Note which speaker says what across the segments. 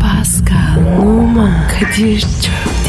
Speaker 1: Pascal, Oman, Kadir çok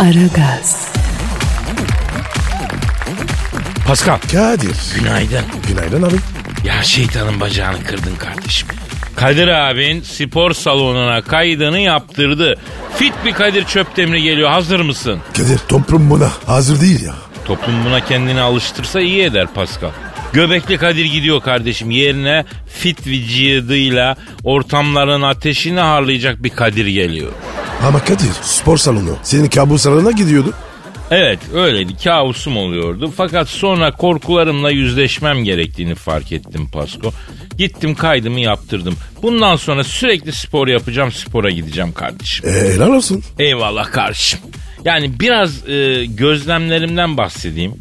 Speaker 1: Aragaz,
Speaker 2: Pascal.
Speaker 3: Kadir.
Speaker 2: Günaydın.
Speaker 3: Günaydın abi.
Speaker 2: Ya şeytanın bacağını kırdın kardeşim. Kadir abin spor salonuna kaydını yaptırdı. Fit bir Kadir Çöptemir geliyor hazır mısın?
Speaker 3: Kadir toplum buna hazır değil ya.
Speaker 2: Toplum buna kendini alıştırsa iyi eder Pascal. Göbekli Kadir gidiyor kardeşim yerine fit vücuduyla ortamların ateşini harlayacak bir Kadir geliyor.
Speaker 3: Ama Kadir spor salonu senin kabus salonuna gidiyordu.
Speaker 2: Evet öyleydi kabusum oluyordu fakat sonra korkularımla yüzleşmem gerektiğini fark ettim Pasko. Gittim kaydımı yaptırdım. Bundan sonra sürekli spor yapacağım spora gideceğim kardeşim.
Speaker 3: E, helal olsun.
Speaker 2: Eyvallah kardeşim. Yani biraz e, gözlemlerimden bahsedeyim.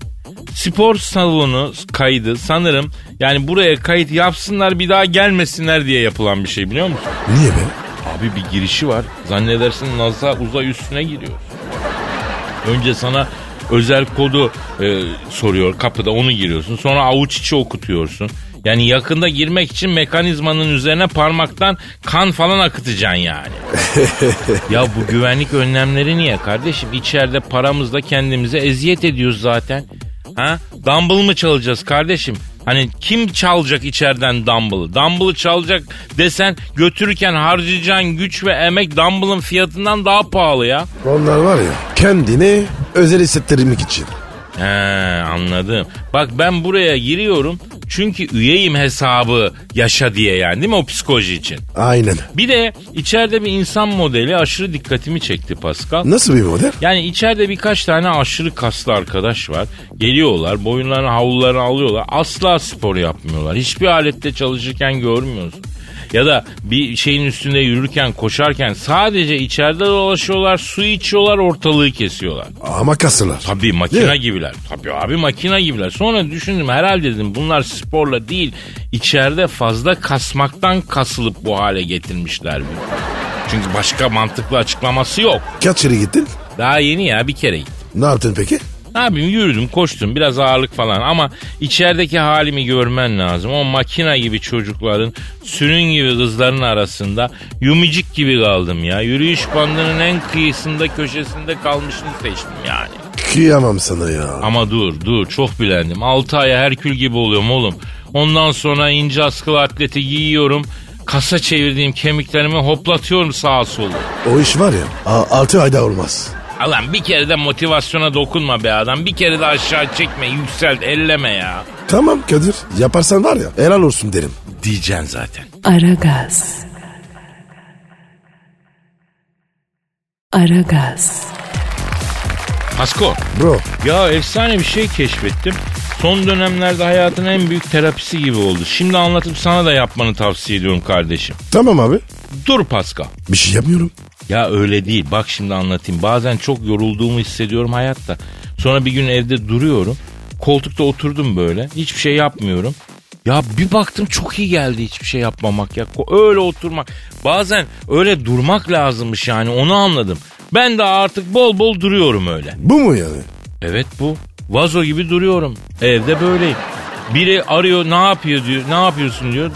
Speaker 2: Spor salonu kaydı sanırım yani buraya kayıt yapsınlar bir daha gelmesinler diye yapılan bir şey biliyor musun?
Speaker 3: Niye be?
Speaker 2: Abi bir girişi var. Zannedersin NASA uzay üstüne giriyor. Önce sana özel kodu e, soruyor kapıda onu giriyorsun. Sonra avuç içi okutuyorsun. Yani yakında girmek için mekanizmanın üzerine parmaktan kan falan akıtacaksın yani. ya bu güvenlik önlemleri niye kardeşim? İçeride paramızla kendimize eziyet ediyoruz zaten. Ha? Dumble mı çalacağız kardeşim? Hani kim çalacak içeriden Dumble'ı? Dumble'ı çalacak desen götürürken harcayacağın güç ve emek Dumble'ın fiyatından daha pahalı ya.
Speaker 3: Onlar var ya kendini özel hissettirmek için.
Speaker 2: He anladım. Bak ben buraya giriyorum çünkü üyeyim hesabı yaşa diye yani değil mi o psikoloji için?
Speaker 3: Aynen.
Speaker 2: Bir de içeride bir insan modeli aşırı dikkatimi çekti Pascal.
Speaker 3: Nasıl bir model?
Speaker 2: Yani içeride birkaç tane aşırı kaslı arkadaş var. Geliyorlar boyunlarını havlularını alıyorlar. Asla spor yapmıyorlar. Hiçbir alette çalışırken görmüyorsun. Ya da bir şeyin üstünde yürürken koşarken sadece içeride dolaşıyorlar su içiyorlar ortalığı kesiyorlar.
Speaker 3: Ama kasılar.
Speaker 2: Tabii makine
Speaker 3: Değil mi?
Speaker 2: gibiler. Tabii abi makine gibiler. Sonra düşündüm herhalde dedim bunlar sporla değil içeride fazla kasmaktan kasılıp bu hale getirmişler bunu. Çünkü başka mantıklı açıklaması yok.
Speaker 3: Kaç yere gittin?
Speaker 2: Daha yeni ya bir kere gittim.
Speaker 3: Ne yaptın peki?
Speaker 2: Ne yapayım yürüdüm koştum biraz ağırlık falan ama içerideki halimi görmen lazım. O makina gibi çocukların sürün gibi kızların arasında yumicik gibi kaldım ya. Yürüyüş bandının en kıyısında köşesinde kalmışını seçtim yani.
Speaker 3: Kıyamam sana ya.
Speaker 2: Ama dur dur çok bilendim. 6 aya Herkül gibi oluyorum oğlum. Ondan sonra ince askılı atleti giyiyorum. Kasa çevirdiğim kemiklerimi hoplatıyorum sağa sola.
Speaker 3: O iş var ya a- altı ayda olmaz.
Speaker 2: Alan bir kere de motivasyona dokunma be adam. Bir kere de aşağı çekme, yükselt, elleme ya.
Speaker 3: Tamam Kadir yaparsan var ya helal olsun derim.
Speaker 2: Diyeceksin zaten.
Speaker 1: Aragaz. Aragaz,
Speaker 2: Pasko,
Speaker 3: Bro
Speaker 2: ya efsane bir şey keşfettim. Son dönemlerde hayatın en büyük terapisi gibi oldu. Şimdi anlatıp sana da yapmanı tavsiye ediyorum kardeşim.
Speaker 3: tamam abi
Speaker 2: Dur Pascal.
Speaker 3: bir şey yapmıyorum.
Speaker 2: Ya öyle değil. Bak şimdi anlatayım. Bazen çok yorulduğumu hissediyorum hayatta. Sonra bir gün evde duruyorum. Koltukta oturdum böyle. Hiçbir şey yapmıyorum. Ya bir baktım çok iyi geldi hiçbir şey yapmamak ya. Ko- Öyle oturmak. Bazen öyle durmak lazımmış yani onu anladım. Ben de artık bol bol duruyorum öyle.
Speaker 3: Bu mu yani?
Speaker 2: Evet bu. Vazo gibi duruyorum. Evde böyleyim. Biri arıyor ne yapıyor diyor. Ne yapıyorsun diyor.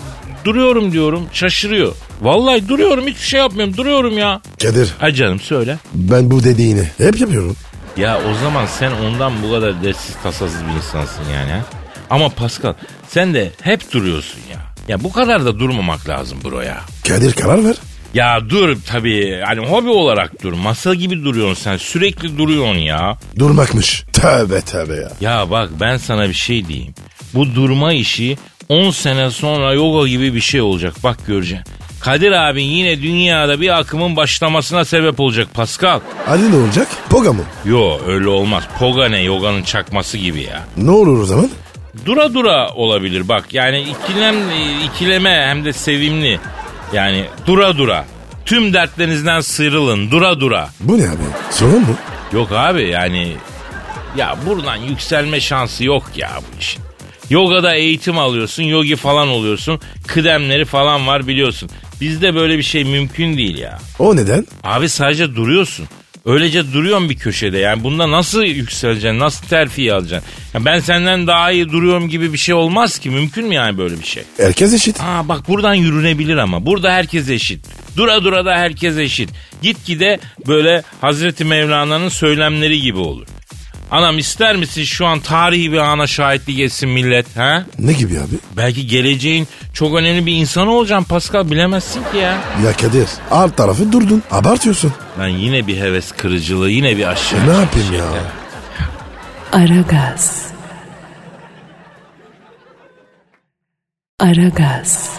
Speaker 2: Duruyorum diyorum. Şaşırıyor. Vallahi duruyorum hiçbir şey yapmıyorum. Duruyorum ya.
Speaker 3: Kadir
Speaker 2: Ha canım söyle.
Speaker 3: ben bu dediğini hep yapıyorum.
Speaker 2: Ya o zaman sen ondan bu kadar dertsiz tasasız bir insansın yani ha? Ama Pascal sen de hep duruyorsun ya. Ya bu kadar da durmamak lazım buraya.
Speaker 3: Kadir karar ver.
Speaker 2: Ya dur tabii hani hobi olarak dur. Masa gibi duruyorsun sen sürekli duruyorsun ya.
Speaker 3: Durmakmış. Tövbe tövbe ya.
Speaker 2: Ya bak ben sana bir şey diyeyim. Bu durma işi 10 sene sonra yoga gibi bir şey olacak bak göreceksin. Kadir abin yine dünyada bir akımın başlamasına sebep olacak Pascal.
Speaker 3: Hadi ne olacak? Poga mı?
Speaker 2: Yo öyle olmaz. Poga ne yoganın çakması gibi ya.
Speaker 3: Ne olur o zaman?
Speaker 2: dura dura olabilir bak. Yani ikilem, ikileme hem de sevimli. Yani dura dura. Tüm dertlerinizden sıyrılın dura dura.
Speaker 3: Bu ne abi? Sorun bu.
Speaker 2: Yok abi yani ya buradan yükselme şansı yok ya bu işin. Yogada eğitim alıyorsun, yogi falan oluyorsun. Kıdemleri falan var biliyorsun. Bizde böyle bir şey mümkün değil ya.
Speaker 3: O neden?
Speaker 2: Abi sadece duruyorsun. Öylece duruyorsun bir köşede. Yani bunda nasıl yükseleceksin, nasıl terfi alacaksın? Ya ben senden daha iyi duruyorum gibi bir şey olmaz ki. Mümkün mü yani böyle bir şey?
Speaker 3: Herkes eşit.
Speaker 2: Aa bak buradan yürünebilir ama. Burada herkes eşit. Dura dura da herkes eşit. Gitgide böyle Hazreti Mevlana'nın söylemleri gibi olur. Anam ister misin şu an tarihi bir ana şahitlik etsin millet ha?
Speaker 3: Ne gibi abi?
Speaker 2: Belki geleceğin çok önemli bir insanı olacaksın Pascal bilemezsin ki ya.
Speaker 3: Ya Kadir alt tarafı durdun. Abartıyorsun.
Speaker 2: Lan yine bir heves kırıcılığı yine bir aşağı.
Speaker 3: E, ne yapayım ya?
Speaker 1: Aragaz. Aragaz.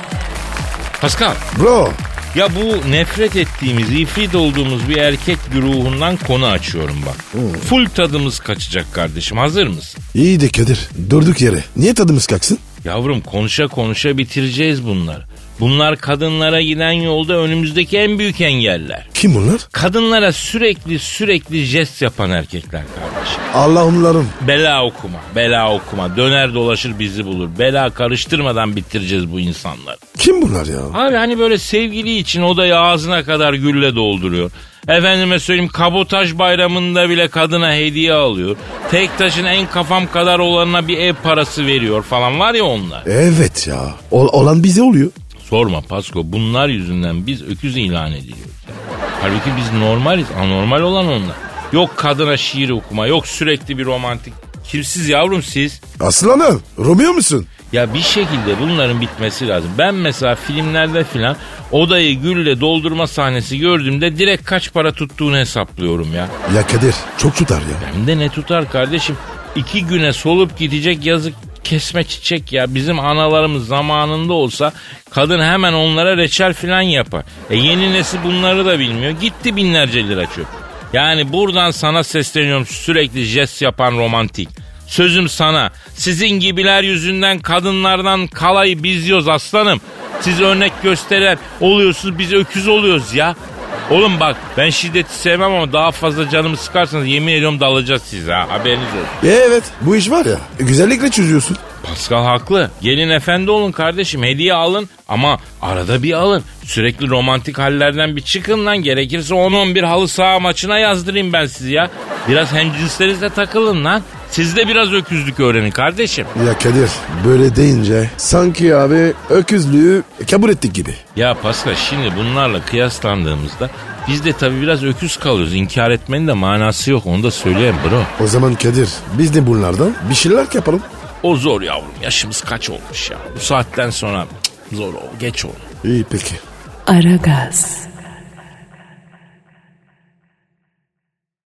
Speaker 2: Pascal
Speaker 3: Bro
Speaker 2: ya bu nefret ettiğimiz, ifrit olduğumuz bir erkek güruhundan konu açıyorum bak. Full tadımız kaçacak kardeşim hazır mısın?
Speaker 3: iyi de Kadir durduk yere. Niye tadımız kalksın?
Speaker 2: Yavrum konuşa konuşa bitireceğiz bunları. Bunlar kadınlara giden yolda önümüzdeki en büyük engeller.
Speaker 3: Kim bunlar?
Speaker 2: Kadınlara sürekli sürekli jest yapan erkekler kardeşim.
Speaker 3: Allah onların.
Speaker 2: Bela okuma, bela okuma. Döner dolaşır bizi bulur. Bela karıştırmadan bitireceğiz bu insanları.
Speaker 3: Kim bunlar ya?
Speaker 2: Abi hani böyle sevgili için odayı ağzına kadar gülle dolduruyor. Efendime söyleyeyim kabotaj bayramında bile kadına hediye alıyor. Tek taşın en kafam kadar olanına bir ev parası veriyor falan var ya onlar.
Speaker 3: Evet ya. Ol- olan bize oluyor.
Speaker 2: Sorma Pasko bunlar yüzünden biz öküz ilan ediliyoruz. Halbuki biz normaliz anormal olan onlar. Yok kadına şiir okuma yok sürekli bir romantik. Kimsiz yavrum siz?
Speaker 3: Aslanım Romeo musun?
Speaker 2: Ya bir şekilde bunların bitmesi lazım. Ben mesela filmlerde filan odayı gülle doldurma sahnesi gördüğümde direkt kaç para tuttuğunu hesaplıyorum ya.
Speaker 3: Ya Kadir çok tutar ya.
Speaker 2: Hem de ne tutar kardeşim? İki güne solup gidecek yazık kesme çiçek ya. Bizim analarımız zamanında olsa kadın hemen onlara reçel filan yapar. E yeni nesil bunları da bilmiyor. Gitti binlerce lira çöp. Yani buradan sana sesleniyorum sürekli jest yapan romantik. Sözüm sana. Sizin gibiler yüzünden kadınlardan kalayı biz yiyoruz aslanım. Siz örnek gösterer oluyorsunuz biz öküz oluyoruz ya. Oğlum bak ben şiddeti sevmem ama daha fazla canımı sıkarsanız yemin ediyorum dalacağız size ha haberiniz olsun.
Speaker 3: E, Evet bu iş var ya e, güzellikle çözüyorsun.
Speaker 2: Pascal haklı. Gelin efendi olun kardeşim hediye alın ama arada bir alın. Sürekli romantik hallerden bir çıkın lan gerekirse 10-11 halı saha maçına yazdırayım ben sizi ya. Biraz hemcinslerinizle takılın lan. Siz de biraz öküzlük öğrenin kardeşim.
Speaker 3: Ya Kadir böyle deyince sanki abi öküzlüğü kabul ettik gibi.
Speaker 2: Ya Pascal şimdi bunlarla kıyaslandığımızda biz de tabii biraz öküz kalıyoruz. İnkar etmenin de manası yok onu da söyleyeyim bro.
Speaker 3: O zaman Kadir biz de bunlardan bir şeyler yapalım.
Speaker 2: O zor yavrum. Yaşımız kaç olmuş ya? Bu saatten sonra cık, zor o. Geç oldu.
Speaker 3: İyi peki.
Speaker 1: Aragaz.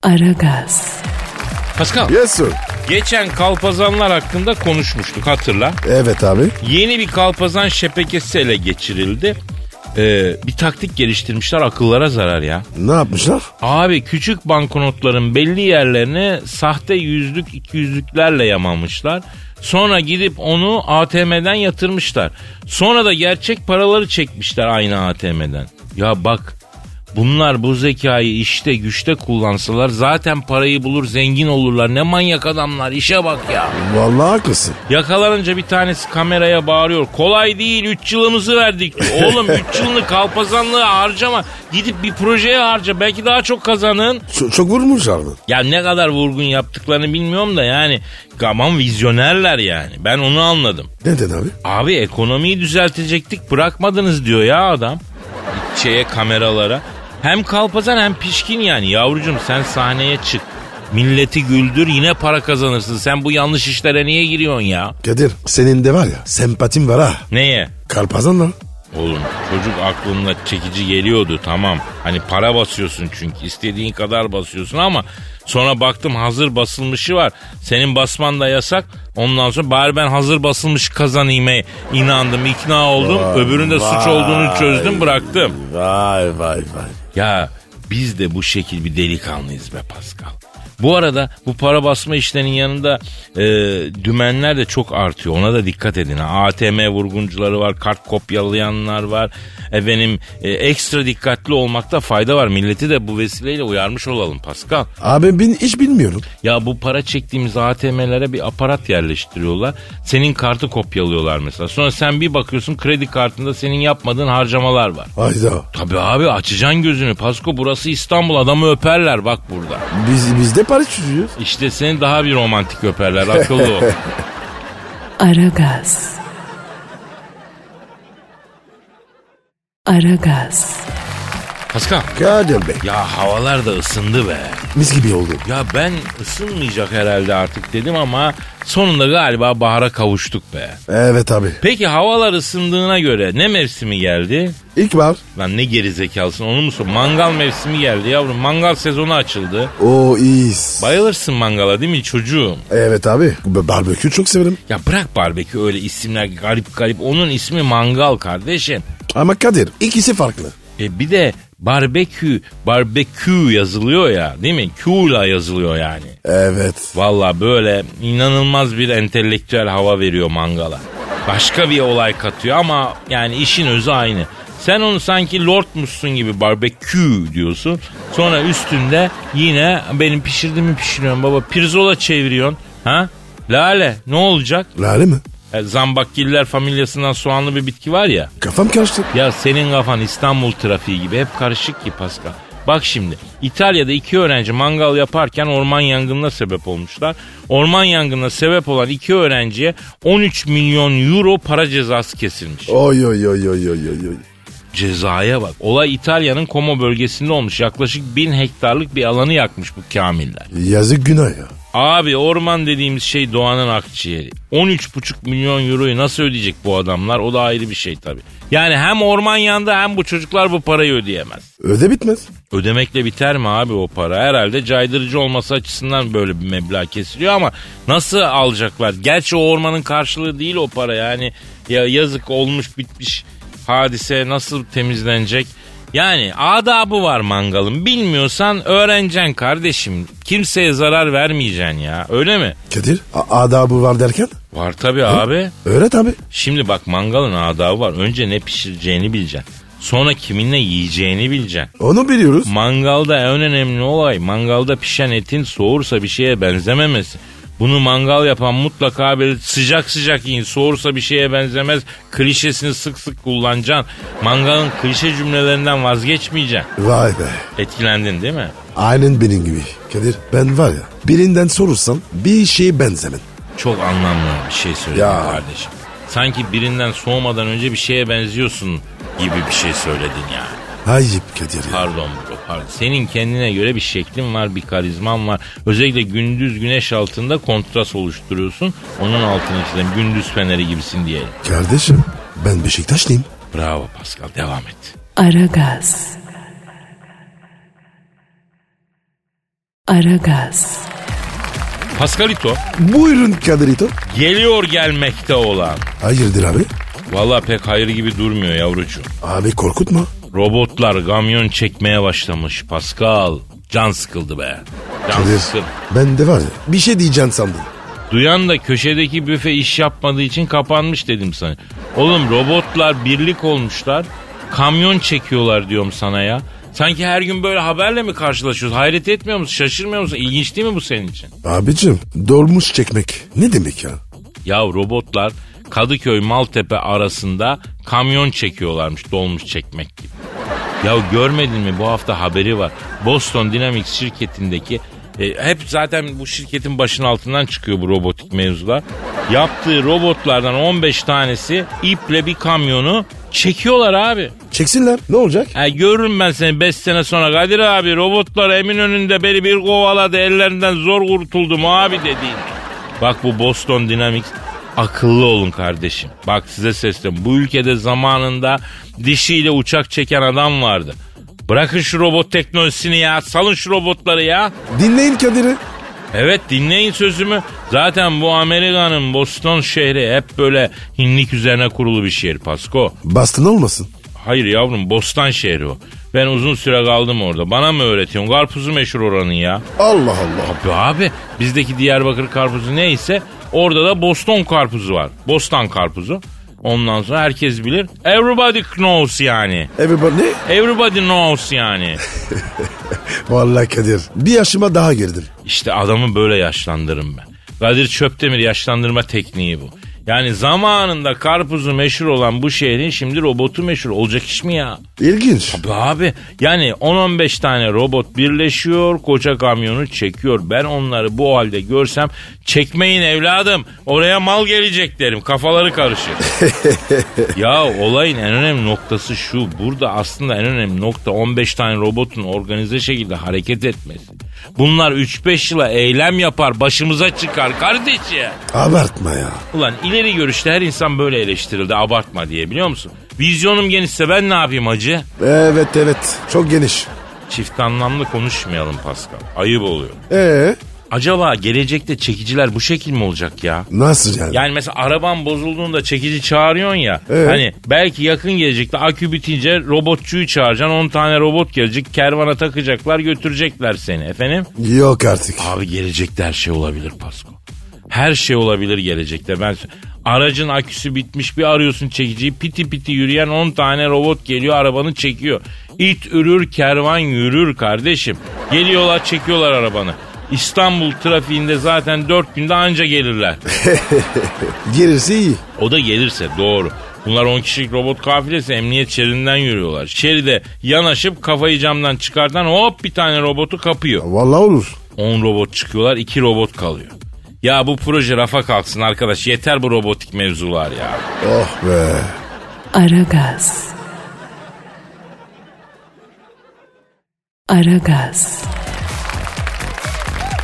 Speaker 1: Aragaz.
Speaker 2: Pascal.
Speaker 3: Yes sir.
Speaker 2: Geçen kalpazanlar hakkında konuşmuştuk hatırla.
Speaker 3: Evet abi.
Speaker 2: Yeni bir kalpazan şebekesi ele geçirildi. Ee, bir taktik geliştirmişler akıllara zarar ya.
Speaker 3: Ne yapmışlar?
Speaker 2: Abi küçük banknotların belli yerlerini sahte yüzlük iki yüzlüklerle yamamışlar. Sonra gidip onu ATM'den yatırmışlar. Sonra da gerçek paraları çekmişler aynı ATM'den. Ya bak bunlar bu zekayı işte güçte kullansalar zaten parayı bulur zengin olurlar. Ne manyak adamlar işe bak ya.
Speaker 3: Vallahi haklısın.
Speaker 2: Yakalanınca bir tanesi kameraya bağırıyor. Kolay değil 3 yılımızı verdik diyor. Oğlum 3 yılını kalpazanlığa harcama. Gidip bir projeye harca. Belki daha çok kazanın.
Speaker 3: Çok, çok vurmuşlar mı?
Speaker 2: Ya ne kadar vurgun yaptıklarını bilmiyorum da yani. Aman vizyonerler yani. Ben onu anladım.
Speaker 3: Neden abi?
Speaker 2: Abi ekonomiyi düzeltecektik bırakmadınız diyor ya adam. Şeye kameralara. Hem kalpazan hem pişkin yani. Yavrucum sen sahneye çık. Milleti güldür yine para kazanırsın. Sen bu yanlış işlere niye giriyorsun ya?
Speaker 3: Kadir senin de var ya sempatin var ha.
Speaker 2: Neye?
Speaker 3: Kalpazanla.
Speaker 2: Oğlum çocuk aklımla çekici geliyordu tamam. Hani para basıyorsun çünkü istediğin kadar basıyorsun ama sonra baktım hazır basılmışı var. Senin basman da yasak. Ondan sonra bari ben hazır basılmış kazanayım'e inandım, ikna oldum. Öbüründe suç olduğunu çözdüm, bıraktım.
Speaker 3: Vay vay vay.
Speaker 2: Ya Biz de bu şekil bir delikanlıyız be Pascal. Bu arada bu para basma işlerinin yanında e, dümenler de çok artıyor. Ona da dikkat edin. ha. ATM vurguncuları var, kart kopyalayanlar var. Efendim e, ekstra dikkatli olmakta fayda var. Milleti de bu vesileyle uyarmış olalım Pascal.
Speaker 3: Abi ben hiç bilmiyorum.
Speaker 2: Ya bu para çektiğimiz ATM'lere bir aparat yerleştiriyorlar. Senin kartı kopyalıyorlar mesela. Sonra sen bir bakıyorsun kredi kartında senin yapmadığın harcamalar var.
Speaker 3: Hayda.
Speaker 2: Tabii abi açacaksın gözünü. Pasko burası İstanbul adamı öperler bak burada.
Speaker 3: Biz, biz de para çözüyoruz.
Speaker 2: İşte seni daha bir romantik öperler akıllı ol.
Speaker 1: Aragaz. Aragaz.
Speaker 2: Pascal
Speaker 3: Kadir Bey.
Speaker 2: ya havalar da ısındı be.
Speaker 3: Mis gibi oldu.
Speaker 2: Ya ben ısınmayacak herhalde artık dedim ama sonunda galiba bahara kavuştuk be.
Speaker 3: Evet abi.
Speaker 2: Peki havalar ısındığına göre ne mevsimi geldi?
Speaker 3: İlk var.
Speaker 2: Lan ne gerizekalısın onu mu sor? Mangal mevsimi geldi yavrum. Mangal sezonu açıldı.
Speaker 3: O iyiyiz.
Speaker 2: Bayılırsın mangala değil mi çocuğum?
Speaker 3: Evet abi. B- Barbekü çok severim.
Speaker 2: Ya bırak barbekü öyle isimler garip garip. Onun ismi mangal kardeşim.
Speaker 3: Ama Kadir ikisi farklı.
Speaker 2: E bir de barbekü, barbekü yazılıyor ya değil mi? Q ile yazılıyor yani.
Speaker 3: Evet.
Speaker 2: Valla böyle inanılmaz bir entelektüel hava veriyor mangala. Başka bir olay katıyor ama yani işin özü aynı. Sen onu sanki lordmuşsun gibi barbekü diyorsun. Sonra üstünde yine benim pişirdiğimi pişiriyorum baba. Pirzola çeviriyorsun. Ha? Lale ne olacak?
Speaker 3: Lale mi?
Speaker 2: E, zambakgiller familyasından soğanlı bir bitki var ya.
Speaker 3: Kafam karıştı.
Speaker 2: Ya senin kafan İstanbul trafiği gibi hep karışık ki Pascal. Bak şimdi İtalya'da iki öğrenci mangal yaparken orman yangınına sebep olmuşlar. Orman yangınına sebep olan iki öğrenciye 13 milyon euro para cezası kesilmiş.
Speaker 3: Oy oy oy oy oy oy. oy.
Speaker 2: Cezaya bak. Olay İtalya'nın Como bölgesinde olmuş. Yaklaşık 1000 hektarlık bir alanı yakmış bu kamiller.
Speaker 3: Yazık günah ya.
Speaker 2: Abi orman dediğimiz şey doğanın akciğeri. 13,5 milyon euroyu nasıl ödeyecek bu adamlar? O da ayrı bir şey tabii. Yani hem orman yandı hem bu çocuklar bu parayı ödeyemez.
Speaker 3: Öde bitmez.
Speaker 2: Ödemekle biter mi abi o para? Herhalde caydırıcı olması açısından böyle bir meblağ kesiliyor ama nasıl alacaklar? Gerçi o ormanın karşılığı değil o para yani. Ya yazık olmuş bitmiş hadise nasıl temizlenecek? Yani adabı var mangalın. Bilmiyorsan öğreneceksin kardeşim. Kimseye zarar vermeyeceksin ya. Öyle mi?
Speaker 3: Kadir a- adabı var derken
Speaker 2: Var tabii abi.
Speaker 3: öğret abi.
Speaker 2: Şimdi bak mangalın adabı var. Önce ne pişireceğini bileceksin. Sonra kiminle yiyeceğini bileceksin.
Speaker 3: Onu biliyoruz.
Speaker 2: Mangalda en önemli olay mangalda pişen etin soğursa bir şeye benzememesi. Bunu mangal yapan mutlaka böyle sıcak sıcak yiyin. Soğursa bir şeye benzemez. Klişesini sık sık kullanacaksın. Mangalın klişe cümlelerinden vazgeçmeyeceksin.
Speaker 3: Vay be.
Speaker 2: Etkilendin değil mi?
Speaker 3: Aynen benim gibi. Kadir ben var ya birinden sorursan bir şeye benzemin.
Speaker 2: Çok anlamlı bir şey söyledin
Speaker 3: Ya.
Speaker 2: kardeşim. Sanki birinden soğumadan önce bir şeye benziyorsun gibi bir şey söyledin yani.
Speaker 3: Ayıp Kadir ya.
Speaker 2: Pardon bro pardon. Senin kendine göre bir şeklin var bir karizman var. Özellikle gündüz güneş altında kontrast oluşturuyorsun. Onun altını çizelim gündüz feneri gibisin diyelim.
Speaker 3: Kardeşim ben Beşiktaşlıyım.
Speaker 2: Bravo Pascal devam et.
Speaker 1: Aragaz. Aragaz.
Speaker 2: Pascalito
Speaker 3: Buyurun Kadirito.
Speaker 2: geliyor gelmekte olan.
Speaker 3: Hayırdır abi?
Speaker 2: Valla pek hayır gibi durmuyor yavrucuğum.
Speaker 3: Abi korkutma.
Speaker 2: Robotlar kamyon çekmeye başlamış Pascal. Can sıkıldı be. Can
Speaker 3: Kadir
Speaker 2: sıkıldı.
Speaker 3: ben de var ya bir şey diyeceğim sandım.
Speaker 2: Duyan da köşedeki büfe iş yapmadığı için kapanmış dedim sana. Oğlum robotlar birlik olmuşlar. Kamyon çekiyorlar diyorum sana ya. Sanki her gün böyle haberle mi karşılaşıyoruz? Hayret etmiyor musun? Şaşırmıyor musun? İlginç değil mi bu senin için?
Speaker 3: Abicim dolmuş çekmek ne demek ya?
Speaker 2: Ya robotlar Kadıköy Maltepe arasında kamyon çekiyorlarmış dolmuş çekmek gibi. Ya görmedin mi bu hafta haberi var. Boston Dynamics şirketindeki e, hep zaten bu şirketin başının altından çıkıyor bu robotik mevzular. Yaptığı robotlardan 15 tanesi iple bir kamyonu çekiyorlar abi.
Speaker 3: Çeksinler ne olacak?
Speaker 2: Ha, E, görürüm ben seni 5 sene sonra Kadir abi robotlar emin önünde beni bir kovaladı ellerinden zor kurtuldum abi dediğin. Bak bu Boston Dynamics akıllı olun kardeşim. Bak size sesleniyorum. Bu ülkede zamanında dişiyle uçak çeken adam vardı. Bırakın şu robot teknolojisini ya. Salın şu robotları ya.
Speaker 3: Dinleyin Kadir'i.
Speaker 2: Evet dinleyin sözümü. Zaten bu Amerika'nın Boston şehri hep böyle hinlik üzerine kurulu bir şehir Pasko.
Speaker 3: Bastın olmasın.
Speaker 2: Hayır yavrum Bostan şehri o. Ben uzun süre kaldım orada. Bana mı öğretiyorsun? Karpuzu meşhur oranın ya.
Speaker 3: Allah Allah.
Speaker 2: Abi abi bizdeki Diyarbakır karpuzu neyse orada da Boston karpuzu var. Bostan karpuzu. Ondan sonra herkes bilir. Everybody knows yani.
Speaker 3: Everybody.
Speaker 2: Everybody knows yani.
Speaker 3: Vallahi Kadir. Bir yaşıma daha girdim.
Speaker 2: İşte adamı böyle yaşlandırırım ben. Kadir Çöptemir yaşlandırma tekniği bu. Yani zamanında karpuzu meşhur olan bu şehrin şimdi robotu meşhur olacak iş mi ya?
Speaker 3: İlginç.
Speaker 2: Be abi yani 10-15 tane robot birleşiyor koca kamyonu çekiyor. Ben onları bu halde görsem çekmeyin evladım oraya mal gelecek derim kafaları karışır. ya olayın en önemli noktası şu burada aslında en önemli nokta 15 tane robotun organize şekilde hareket etmesi. Bunlar 3-5 yıla eylem yapar başımıza çıkar kardeşim.
Speaker 3: Abartma ya.
Speaker 2: Ulan ileri görüşte her insan böyle eleştirildi abartma diye biliyor musun? Vizyonum genişse ben ne yapayım hacı?
Speaker 3: Evet evet. Çok geniş.
Speaker 2: Çift anlamlı konuşmayalım Pascal. Ayıp oluyor.
Speaker 3: Ee
Speaker 2: Acaba gelecekte çekiciler bu şekil mi olacak ya?
Speaker 3: nasıl yani?
Speaker 2: Yani mesela araban bozulduğunda çekici çağırıyorsun ya.
Speaker 3: Evet.
Speaker 2: Hani belki yakın gelecekte akü bitince robotçuyu çağıracaksın. 10 tane robot gelecek. Kervana takacaklar götürecekler seni efendim.
Speaker 3: Yok artık.
Speaker 2: Abi gelecekte her şey olabilir Pasko. Her şey olabilir gelecekte. Ben aracın aküsü bitmiş bir arıyorsun çekiciyi piti piti yürüyen 10 tane robot geliyor arabanı çekiyor. İt ürür kervan yürür kardeşim. Geliyorlar çekiyorlar arabanı. İstanbul trafiğinde zaten 4 günde anca gelirler.
Speaker 3: Gerisi iyi.
Speaker 2: O da gelirse doğru. Bunlar 10 kişilik robot kafilesi emniyet şeridinden yürüyorlar. Şeride yanaşıp kafayı camdan çıkartan hop bir tane robotu kapıyor.
Speaker 3: Vallahi olur.
Speaker 2: 10 robot çıkıyorlar 2 robot kalıyor. Ya bu proje rafa kalksın arkadaş yeter bu robotik mevzular ya.
Speaker 3: Oh be.
Speaker 1: Aragaz. Aragaz.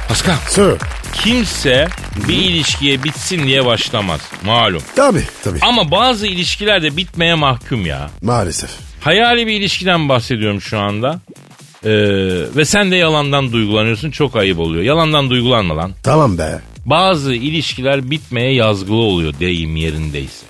Speaker 2: Pascal
Speaker 3: Sir.
Speaker 2: kimse bir ilişkiye bitsin diye başlamaz malum.
Speaker 3: Tabi tabi.
Speaker 2: Ama bazı ilişkiler de bitmeye mahkum ya.
Speaker 3: Maalesef.
Speaker 2: Hayali bir ilişkiden bahsediyorum şu anda. Ee, ve sen de yalandan duygulanıyorsun çok ayıp oluyor. Yalandan duygulanma lan.
Speaker 3: Tamam be.
Speaker 2: Bazı ilişkiler bitmeye yazgılı oluyor deyim yerindeyse.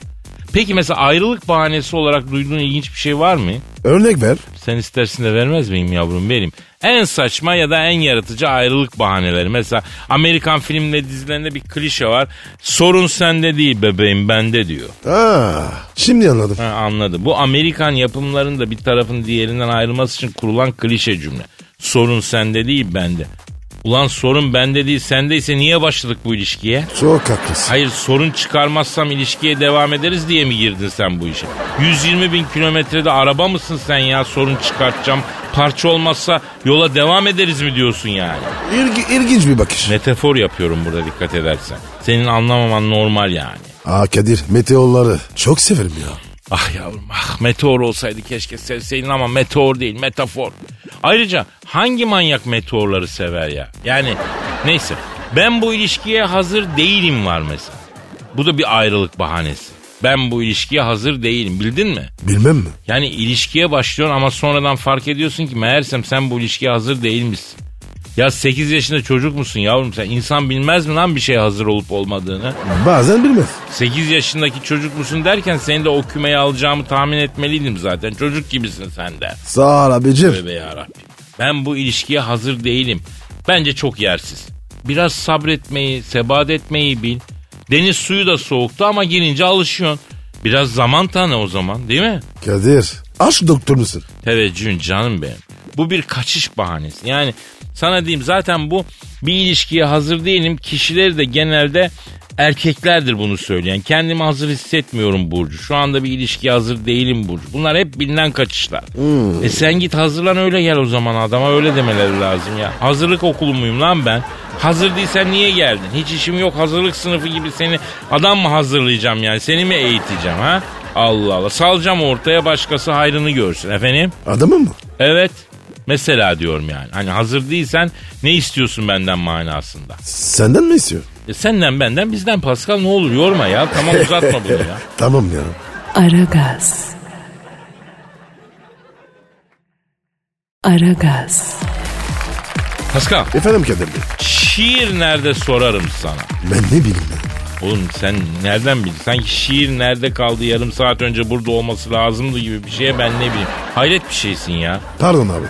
Speaker 2: Peki mesela ayrılık bahanesi olarak duyduğun ilginç bir şey var mı?
Speaker 3: Örnek ver.
Speaker 2: Sen istersin de vermez miyim yavrum benim? En saçma ya da en yaratıcı ayrılık bahaneleri. Mesela Amerikan filmle dizilerinde bir klişe var. Sorun sende değil bebeğim bende diyor.
Speaker 3: Aa, şimdi anladım.
Speaker 2: Ha, anladı. Bu Amerikan yapımlarında bir tarafın diğerinden ayrılması için kurulan klişe cümle. Sorun sende değil bende. Ulan sorun bende değil sendeyse niye başladık bu ilişkiye?
Speaker 3: Çok haklısın.
Speaker 2: Hayır sorun çıkarmazsam ilişkiye devam ederiz diye mi girdin sen bu işe? 120 bin kilometrede araba mısın sen ya sorun çıkartacağım. Parça olmazsa yola devam ederiz mi diyorsun yani?
Speaker 3: İlgi, ilginç bir bakış.
Speaker 2: Metafor yapıyorum burada dikkat edersen. Senin anlamaman normal yani.
Speaker 3: Aa Kadir meteorları çok severim ya.
Speaker 2: Ah yavrum ah meteor olsaydı keşke sevseydin ama meteor değil metafor. Ayrıca hangi manyak meteorları sever ya? Yani neyse ben bu ilişkiye hazır değilim var mesela. Bu da bir ayrılık bahanesi. Ben bu ilişkiye hazır değilim bildin mi?
Speaker 3: Bilmem mi?
Speaker 2: Yani ilişkiye başlıyorsun ama sonradan fark ediyorsun ki meğersem sen bu ilişkiye hazır değilmişsin. Ya 8 yaşında çocuk musun yavrum sen? İnsan bilmez mi lan bir şeye hazır olup olmadığını?
Speaker 3: Bazen bilmez.
Speaker 2: 8 yaşındaki çocuk musun derken seni de o kümeye alacağımı tahmin etmeliydim zaten. Çocuk gibisin sen de.
Speaker 3: Sağ ol abicim.
Speaker 2: Tövbe yarabbim. Ben bu ilişkiye hazır değilim. Bence çok yersiz. Biraz sabretmeyi, sebat etmeyi bil. Deniz suyu da soğuktu ama girince alışıyorsun. Biraz zaman tanı o zaman değil mi?
Speaker 3: Kadir aşk doktor musun?
Speaker 2: Teveccühün canım benim. Bu bir kaçış bahanesi. Yani sana diyeyim zaten bu bir ilişkiye hazır değilim. Kişileri de genelde erkeklerdir bunu söyleyen. Kendimi hazır hissetmiyorum Burcu. Şu anda bir ilişkiye hazır değilim Burcu. Bunlar hep bilinen kaçışlar. E sen git hazırlan öyle gel o zaman adama öyle demeleri lazım ya. Hazırlık okulu muyum lan ben? Hazır değilsen niye geldin? Hiç işim yok hazırlık sınıfı gibi seni adam mı hazırlayacağım yani? Seni mi eğiteceğim ha? Allah Allah. Salacağım ortaya başkası hayrını görsün efendim.
Speaker 3: Adamı mı?
Speaker 2: Evet. Mesela diyorum yani. Hani hazır değilsen ne istiyorsun benden manasında?
Speaker 3: Senden mi istiyor?
Speaker 2: E senden benden bizden Pascal ne olur yorma ya. Tamam uzatma bunu ya.
Speaker 3: Tamam ya.
Speaker 1: Aragaz. Aragaz.
Speaker 2: Pascal
Speaker 3: Efendim Kadir Bey.
Speaker 2: şiir nerede sorarım sana.
Speaker 3: Ben ne bileyim ben.
Speaker 2: Oğlum sen nereden bildin? Sanki şiir nerede kaldı yarım saat önce burada olması lazımdı gibi bir şeye ben ne bileyim. Hayret bir şeysin ya.
Speaker 3: Pardon abi.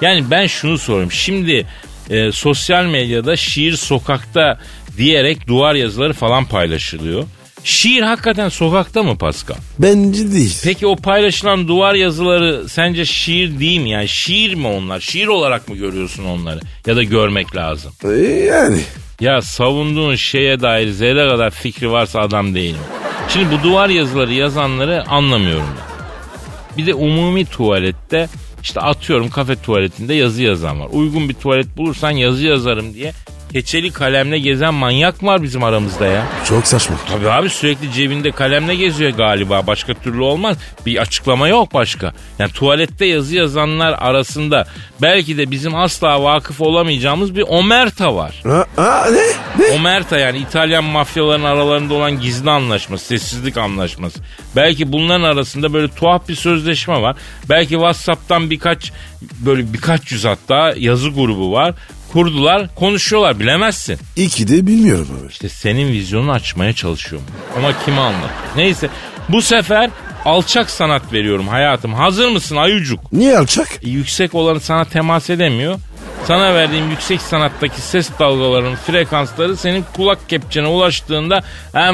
Speaker 2: Yani ben şunu soruyorum. Şimdi e, sosyal medyada şiir sokakta diyerek duvar yazıları falan paylaşılıyor. Şiir hakikaten sokakta mı Pascal?
Speaker 3: Bence değil.
Speaker 2: Peki o paylaşılan duvar yazıları sence şiir değil mi? Yani şiir mi onlar? Şiir olarak mı görüyorsun onları? Ya da görmek lazım.
Speaker 3: Ee, yani.
Speaker 2: Ya savunduğun şeye dair zerre kadar fikri varsa adam değilim. Şimdi bu duvar yazıları yazanları anlamıyorum ben. Bir de umumi tuvalette işte atıyorum kafe tuvaletinde yazı yazan var. Uygun bir tuvalet bulursan yazı yazarım diye keçeli kalemle gezen manyak var bizim aramızda ya.
Speaker 3: Çok saçma.
Speaker 2: Tabii abi sürekli cebinde kalemle geziyor galiba. Başka türlü olmaz. Bir açıklama yok başka. Yani tuvalette yazı yazanlar arasında belki de bizim asla vakıf olamayacağımız bir omerta var.
Speaker 3: Ha, ha, ne? Ne?
Speaker 2: Omerta yani İtalyan mafyaların aralarında olan gizli anlaşma, sessizlik anlaşması. Belki bunların arasında böyle tuhaf bir sözleşme var. Belki WhatsApp'tan birkaç böyle birkaç yüz hatta yazı grubu var. Kurdular, konuşuyorlar bilemezsin.
Speaker 3: İki de bilmiyorum abi.
Speaker 2: İşte senin vizyonunu açmaya çalışıyorum. Ama kime anlat? Neyse bu sefer alçak sanat veriyorum hayatım. Hazır mısın ayucuk?
Speaker 3: Niye alçak?
Speaker 2: E, yüksek olanı sana temas edemiyor. Sana verdiğim yüksek sanattaki ses dalgalarının frekansları senin kulak kepçene ulaştığında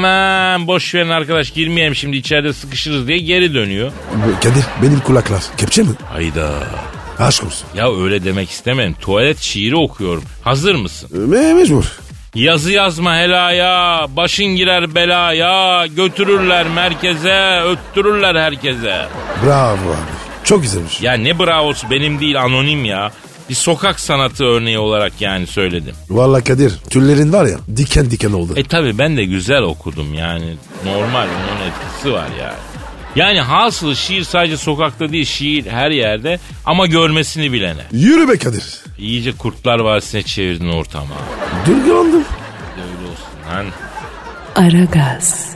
Speaker 2: hemen boş verin arkadaş girmeyelim şimdi içeride sıkışırız diye geri dönüyor.
Speaker 3: Bu- Kadir benim kulaklar. Kepçe mi?
Speaker 2: Hayda.
Speaker 3: Aşk olsun.
Speaker 2: Ya öyle demek istemedim. Tuvalet şiiri okuyorum. Hazır mısın?
Speaker 3: Ee, Me mecbur.
Speaker 2: Yazı yazma helaya, başın girer belaya, götürürler merkeze, öttürürler herkese.
Speaker 3: Bravo abi. Çok güzelmiş.
Speaker 2: Ya ne bravosu benim değil anonim ya. Bir sokak sanatı örneği olarak yani söyledim.
Speaker 3: Vallahi Kadir tüllerin var ya diken diken oldu.
Speaker 2: E tabi ben de güzel okudum yani. Normal onun etkisi var yani. Yani hasılı şiir sadece sokakta değil şiir her yerde ama görmesini bilene.
Speaker 3: Yürü be Kadir.
Speaker 2: İyice Kurtlar Vadisi'ne çevirdin ortamı.
Speaker 3: Dürgülandım.
Speaker 2: Öyle olsun lan.
Speaker 1: Aragaz.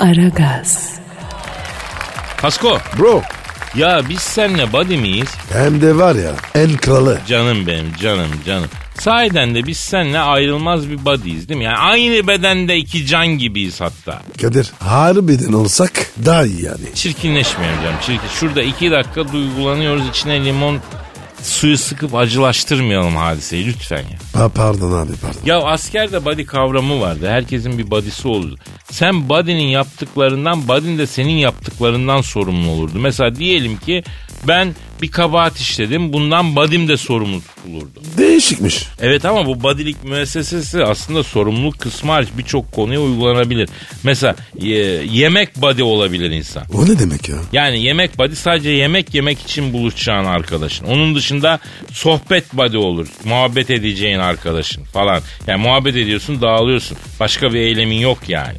Speaker 1: Aragaz.
Speaker 2: Pasko
Speaker 3: Bro
Speaker 2: ya biz seninle buddy miyiz?
Speaker 3: hem de var ya en kralı.
Speaker 2: Canım benim canım canım. Sahiden de biz seninle ayrılmaz bir buddy'yiz değil mi? Yani aynı bedende iki can gibiyiz hatta.
Speaker 3: Kadir harbiden olsak daha iyi yani.
Speaker 2: Çirkinleşmeyelim canım. Çirkin. Şurada iki dakika duygulanıyoruz. içine limon suyu sıkıp acılaştırmayalım hadiseyi lütfen ya.
Speaker 3: Pa pardon abi pardon.
Speaker 2: Ya askerde body kavramı vardı. Herkesin bir body'si olurdu. Sen body'nin yaptıklarından, body'nin de senin yaptıklarından sorumlu olurdu. Mesela diyelim ki ben bir kabahat işledim. Bundan body'm de sorumlu tutulurdu.
Speaker 3: Değişikmiş.
Speaker 2: Evet ama bu badilik müessesesi aslında sorumluluk kısmı hariç birçok konuya uygulanabilir. Mesela e, yemek body olabilir insan.
Speaker 3: O ne demek ya?
Speaker 2: Yani yemek body sadece yemek yemek için buluşacağın arkadaşın. Onun dışında sohbet body olur. Muhabbet edeceğin arkadaşın falan. Yani muhabbet ediyorsun dağılıyorsun. Başka bir eylemin yok yani.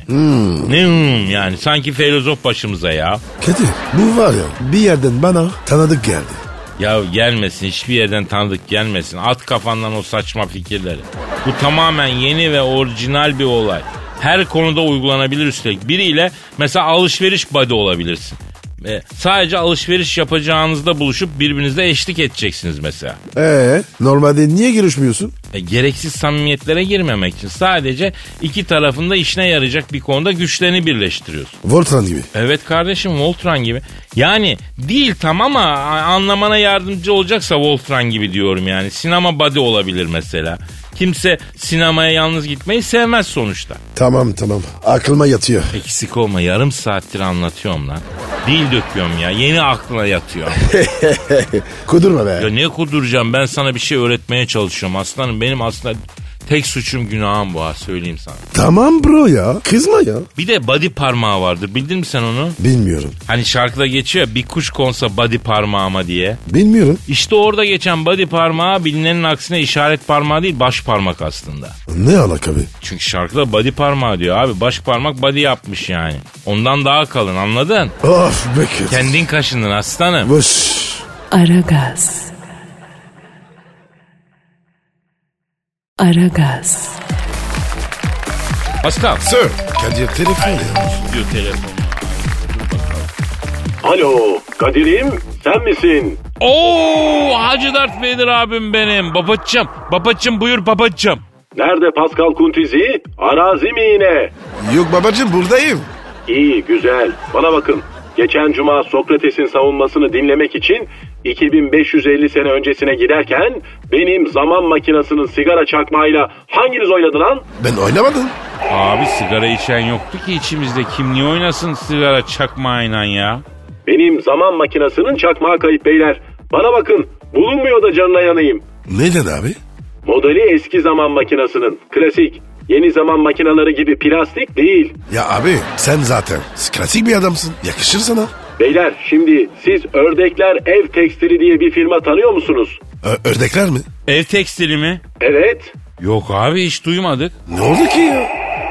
Speaker 2: Ne hmm yani sanki filozof başımıza ya.
Speaker 3: Kadir bu var ya bir yerden bana tanıdık geldi.
Speaker 2: Ya gelmesin hiçbir yerden tanıdık gelmesin. At kafandan o saçma fikirleri. Bu tamamen yeni ve orijinal bir olay. Her konuda uygulanabilir üstelik. Biriyle mesela alışveriş body olabilirsin. E, sadece alışveriş yapacağınızda buluşup birbirinize eşlik edeceksiniz mesela.
Speaker 3: Ee normalde niye görüşmüyorsun?
Speaker 2: E, gereksiz samimiyetlere girmemek için sadece iki tarafında işine yarayacak bir konuda güçlerini birleştiriyorsun.
Speaker 3: Voltran gibi.
Speaker 2: Evet kardeşim Voltran gibi. Yani değil tam ama a- anlamana yardımcı olacaksa Voltran gibi diyorum yani. Sinema body olabilir mesela. Kimse sinemaya yalnız gitmeyi sevmez sonuçta.
Speaker 3: Tamam tamam aklıma yatıyor.
Speaker 2: Eksik olma yarım saattir anlatıyorum lan. Dil döküyorum ya yeni aklına yatıyor.
Speaker 3: Kudurma be.
Speaker 2: ya ne kuduracağım ben sana bir şey öğretmeye çalışıyorum aslanım. Benim aslında tek suçum günahım bu ha söyleyeyim sana.
Speaker 3: Tamam bro ya kızma ya.
Speaker 2: Bir de body parmağı vardır bildin mi sen onu?
Speaker 3: Bilmiyorum
Speaker 2: Hani şarkıda geçiyor ya, bir kuş konsa body parmağıma diye.
Speaker 3: bilmiyorum.
Speaker 2: İşte orada geçen body parmağı bilinenin aksine işaret parmağı değil baş parmak aslında.
Speaker 3: Ne alaka abi?
Speaker 2: Çünkü şarkıda body parmağı diyor abi. Baş parmak body yapmış yani. Ondan daha kalın anladın?
Speaker 3: Of be Kadir.
Speaker 2: Kendin kaşındın aslanım.
Speaker 3: Boş.
Speaker 1: Aragaz. Aragaz.
Speaker 2: Pascal.
Speaker 3: Sir. Kadir telefon ya.
Speaker 2: Diyor telefon.
Speaker 4: Alo Kadir'im sen misin?
Speaker 2: Oo Hacı Dert Vedir abim benim. Babacım. Babacım buyur babacım.
Speaker 4: Nerede Pascal Kuntizi? Arazi mi yine?
Speaker 3: Yok babacım buradayım.
Speaker 4: İyi, güzel. Bana bakın. Geçen cuma Sokrates'in savunmasını dinlemek için 2550 sene öncesine giderken benim zaman makinesinin sigara çakmağıyla hanginiz oynadı lan?
Speaker 3: Ben oynamadım.
Speaker 2: Abi sigara içen yoktu ki içimizde. Kim niye oynasın sigara çakmağıyla ya?
Speaker 4: Benim zaman makinesinin çakmağı kayıp beyler. Bana bakın. Bulunmuyor da canına yanayım.
Speaker 3: Neden abi?
Speaker 4: Modeli eski zaman makinesinin. Klasik. Yeni zaman makineleri gibi plastik değil.
Speaker 3: Ya abi sen zaten klasik bir adamsın. Yakışır sana.
Speaker 4: Beyler şimdi siz Ördekler Ev Tekstili diye bir firma tanıyor musunuz?
Speaker 3: Ö- ördekler mi?
Speaker 2: Ev tekstili mi?
Speaker 4: Evet.
Speaker 2: Yok abi hiç duymadık.
Speaker 3: Ne oldu ki ya?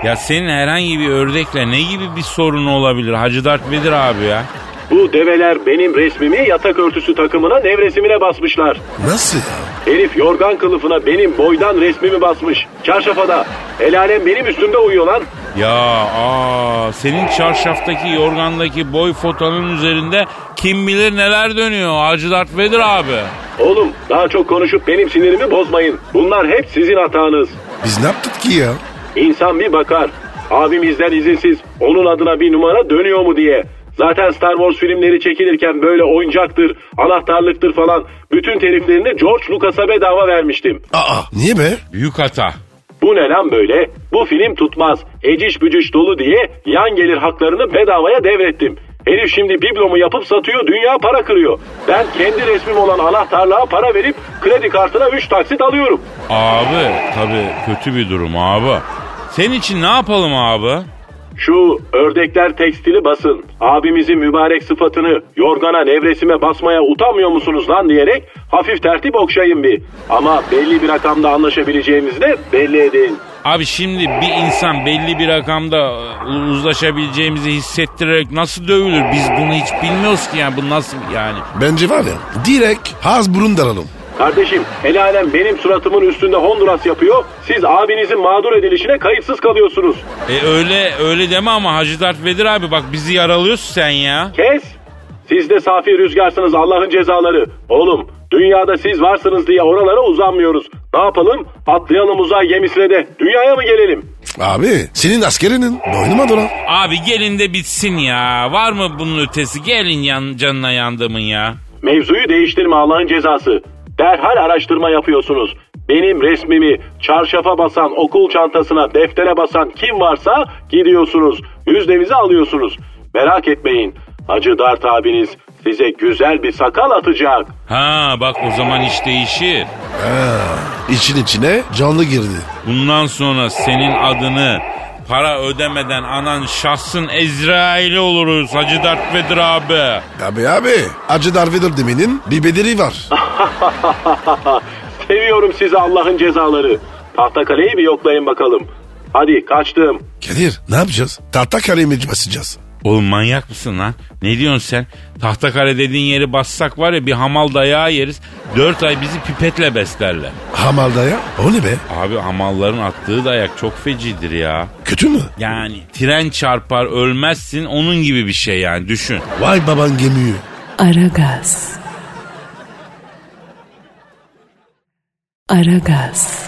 Speaker 2: Ya senin herhangi bir ördekle ne gibi bir sorun olabilir Hacı Dert Bedir abi ya?
Speaker 4: Bu develer benim resmimi yatak örtüsü takımına nevresimine basmışlar.
Speaker 3: Nasıl ya?
Speaker 4: Herif yorgan kılıfına benim boydan resmimi basmış. Çarşafada. El alem benim üstümde uyuyor lan.
Speaker 2: Ya aa, senin çarşaftaki yorgandaki boy fotonun üzerinde kim bilir neler dönüyor Hacı Dert Bedir abi.
Speaker 4: Oğlum daha çok konuşup benim sinirimi bozmayın. Bunlar hep sizin hatanız.
Speaker 3: Biz ne yaptık ki ya?
Speaker 4: İnsan bir bakar. Abimizden izinsiz onun adına bir numara dönüyor mu diye. Zaten Star Wars filmleri çekilirken böyle oyuncaktır, anahtarlıktır falan bütün teriflerini George Lucas'a bedava vermiştim.
Speaker 3: Aa niye be?
Speaker 2: Büyük hata.
Speaker 4: Bu ne lan böyle? Bu film tutmaz. Eciş bücüş dolu diye yan gelir haklarını bedavaya devrettim. Herif şimdi biblomu yapıp satıyor, dünya para kırıyor. Ben kendi resmim olan anahtarlığa para verip kredi kartına 3 taksit alıyorum.
Speaker 2: Abi tabii kötü bir durum abi. Senin için ne yapalım abi?
Speaker 4: Şu ördekler tekstili basın. Abimizin mübarek sıfatını yorgana nevresime basmaya utanmıyor musunuz lan diyerek hafif tertip okşayın bir. Ama belli bir rakamda anlaşabileceğimizi de belli edin.
Speaker 2: Abi şimdi bir insan belli bir rakamda e, uzlaşabileceğimizi hissettirerek nasıl dövülür? Biz bunu hiç bilmiyoruz ki yani bu nasıl yani.
Speaker 3: Bence var ya direkt ağız burun dalalım.
Speaker 4: Kardeşim el alem benim suratımın üstünde Honduras yapıyor. Siz abinizin mağdur edilişine kayıtsız kalıyorsunuz.
Speaker 2: E öyle öyle deme ama Hacı Dert Vedir abi bak bizi yaralıyorsun sen ya.
Speaker 4: Kes! Siz de safi rüzgarsınız Allah'ın cezaları. Oğlum dünyada siz varsınız diye oralara uzanmıyoruz. Ne yapalım? Atlayalım uzay gemisine de dünyaya mı gelelim?
Speaker 3: Abi senin askerinin boynuma dolan.
Speaker 2: Abi gelin de bitsin ya. Var mı bunun ötesi? Gelin yan, canına yandımın ya.
Speaker 4: Mevzuyu değiştirme Allah'ın cezası. Derhal araştırma yapıyorsunuz. Benim resmimi çarşafa basan, okul çantasına, deftere basan kim varsa gidiyorsunuz. Yüzdenizi alıyorsunuz. Merak etmeyin. Hacı Dart abiniz size güzel bir sakal atacak.
Speaker 2: Ha bak o zaman iş değişir.
Speaker 3: İçin içine canlı girdi.
Speaker 2: Bundan sonra senin adını para ödemeden anan şahsın Ezrail'i oluruz Hacı Dert Vedir abi.
Speaker 3: Abi abi Hacı Darvedir demenin bir bedeli var.
Speaker 4: Seviyorum sizi Allah'ın cezaları. Tahtakaleyi bir yoklayın bakalım. Hadi kaçtım.
Speaker 3: Kadir ne yapacağız? Tahta kaleye mi basacağız?
Speaker 2: Oğlum manyak mısın lan? Ne diyorsun sen? Tahtakale dediğin yeri bassak var ya bir hamal dayağı yeriz. Dört ay bizi pipetle beslerler.
Speaker 3: Hamalda ya. O ne be?
Speaker 2: Abi hamalların attığı dayak çok fecidir ya.
Speaker 3: Kötü mü?
Speaker 2: Yani tren çarpar ölmezsin onun gibi bir şey yani düşün.
Speaker 3: Vay baban gemiyi.
Speaker 1: Aragaz. Aragaz.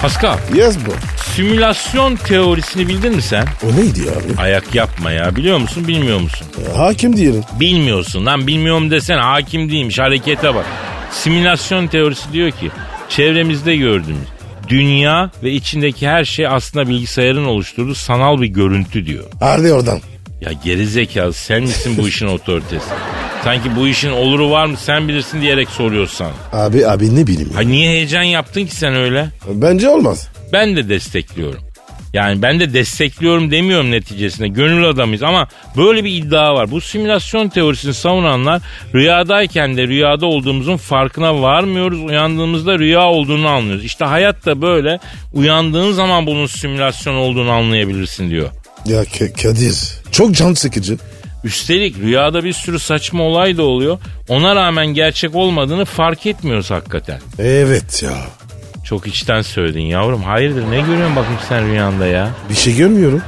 Speaker 2: Pascal
Speaker 3: Yes bro.
Speaker 2: simülasyon teorisini bildin mi sen?
Speaker 3: O neydi abi?
Speaker 2: Ayak yapma ya biliyor musun bilmiyor musun?
Speaker 3: Hakim diyelim.
Speaker 2: Bilmiyorsun lan bilmiyorum desen hakim değilmiş harekete bak. Simülasyon teorisi diyor ki çevremizde gördüğümüz dünya ve içindeki her şey aslında bilgisayarın oluşturduğu sanal bir görüntü diyor.
Speaker 3: Harbi oradan.
Speaker 2: Ya gerizekalı sen misin bu işin otoritesi? Sanki bu işin oluru var mı sen bilirsin diyerek soruyorsan.
Speaker 3: Abi abi ne bileyim.
Speaker 2: Ha niye heyecan yaptın ki sen öyle?
Speaker 3: Bence olmaz.
Speaker 2: Ben de destekliyorum. Yani ben de destekliyorum demiyorum neticesinde. Gönül adamıyız ama böyle bir iddia var. Bu simülasyon teorisini savunanlar rüyadayken de rüyada olduğumuzun farkına varmıyoruz. Uyandığımızda rüya olduğunu anlıyoruz. İşte hayat da böyle uyandığın zaman bunun simülasyon olduğunu anlayabilirsin diyor.
Speaker 3: Ya K- Kadir çok can sıkıcı.
Speaker 2: Üstelik rüyada bir sürü saçma olay da oluyor. Ona rağmen gerçek olmadığını fark etmiyoruz hakikaten.
Speaker 3: Evet ya.
Speaker 2: Çok içten söyledin yavrum. Hayırdır ne görüyorsun bakayım sen rüyanda ya?
Speaker 3: Bir şey görmüyorum.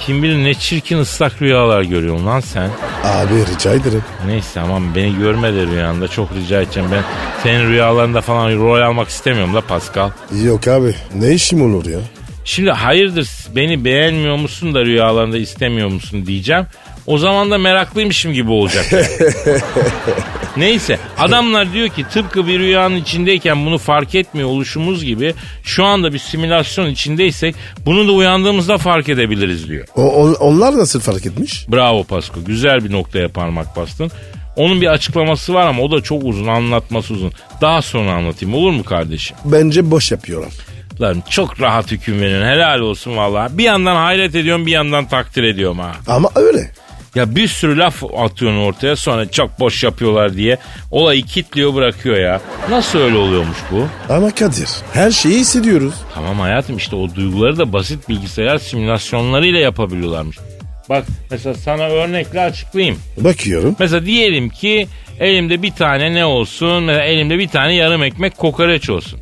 Speaker 2: Kim bilir ne çirkin ıslak rüyalar görüyorsun lan sen.
Speaker 3: Abi rica ederim.
Speaker 2: Neyse aman beni görme de rüyanda çok rica edeceğim. Ben senin rüyalarında falan rol almak istemiyorum la Pascal.
Speaker 3: Yok abi ne işim olur ya?
Speaker 2: Şimdi hayırdır beni beğenmiyor musun da rüyalarında istemiyor musun diyeceğim. O zaman da meraklıymışım gibi olacak. Neyse adamlar diyor ki tıpkı bir rüyanın içindeyken bunu fark etmiyor oluşumuz gibi şu anda bir simülasyon içindeysek bunu da uyandığımızda fark edebiliriz diyor.
Speaker 3: O, on- onlar nasıl fark etmiş?
Speaker 2: Bravo Pasko. Güzel bir noktaya parmak bastın. Onun bir açıklaması var ama o da çok uzun anlatması uzun. Daha sonra anlatayım olur mu kardeşim?
Speaker 3: Bence boş yapıyorlar.
Speaker 2: Lan çok rahat hüküm veriyorsun. Helal olsun valla. Bir yandan hayret ediyorum bir yandan takdir ediyorum ha.
Speaker 3: Ama öyle.
Speaker 2: Ya bir sürü laf atıyorsun ortaya sonra çok boş yapıyorlar diye olayı kitliyor bırakıyor ya. Nasıl öyle oluyormuş bu?
Speaker 3: Ama Kadir her şeyi hissediyoruz.
Speaker 2: Tamam hayatım işte o duyguları da basit bilgisayar simülasyonlarıyla yapabiliyorlarmış. Bak mesela sana örnekle açıklayayım.
Speaker 3: Bakıyorum.
Speaker 2: Mesela diyelim ki elimde bir tane ne olsun? Mesela elimde bir tane yarım ekmek kokoreç olsun.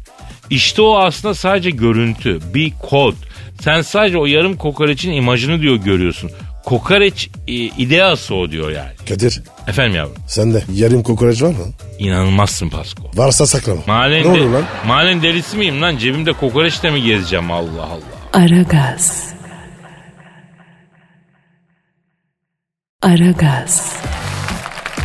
Speaker 2: İşte o aslında sadece görüntü, bir kod. Sen sadece o yarım kokoreçin imajını diyor görüyorsun. Kokoreç e, ideası o diyor yani.
Speaker 3: Kadir
Speaker 2: Efendim yavrum
Speaker 3: sende yarım kokoreç var mı?
Speaker 2: inanılmazsın Pasko.
Speaker 3: Varsa saklama.
Speaker 2: Malen,
Speaker 3: ne
Speaker 2: de-
Speaker 3: olur lan?
Speaker 2: malen delisi miyim lan? Cebimde kokoreç de mi gezeceğim Allah Allah.
Speaker 1: Aragaz. Aragaz.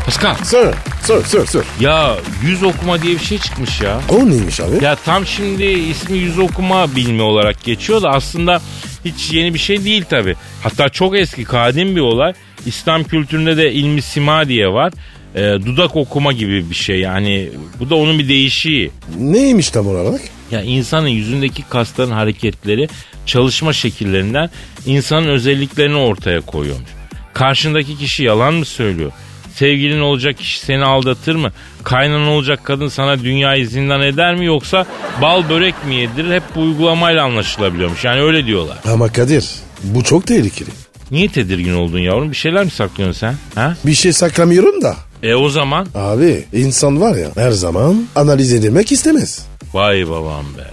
Speaker 2: Pascal
Speaker 3: Sor, sor, sor, sor.
Speaker 2: ya yüz okuma diye bir şey çıkmış ya.
Speaker 3: O neymiş abi?
Speaker 2: Ya tam şimdi ismi yüz okuma bilimi olarak geçiyor da aslında hiç yeni bir şey değil tabi. Hatta çok eski kadim bir olay. İslam kültüründe de ilmi sima diye var. Ee, dudak okuma gibi bir şey yani bu da onun bir değişiği.
Speaker 3: Neymiş tam olarak?
Speaker 2: Ya insanın yüzündeki kasların hareketleri çalışma şekillerinden insanın özelliklerini ortaya koyuyormuş. Karşındaki kişi yalan mı söylüyor? Sevgilin olacak kişi seni aldatır mı? Kaynan olacak kadın sana dünyayı zindan eder mi yoksa bal börek mi yedirir? Hep bu uygulamayla anlaşılabiliyormuş. Yani öyle diyorlar.
Speaker 3: Ama Kadir bu çok tehlikeli.
Speaker 2: Niye tedirgin oldun yavrum? Bir şeyler mi saklıyorsun sen? Ha?
Speaker 3: Bir şey saklamıyorum da.
Speaker 2: E o zaman?
Speaker 3: Abi insan var ya her zaman analiz edilmek istemez.
Speaker 2: Vay babam be.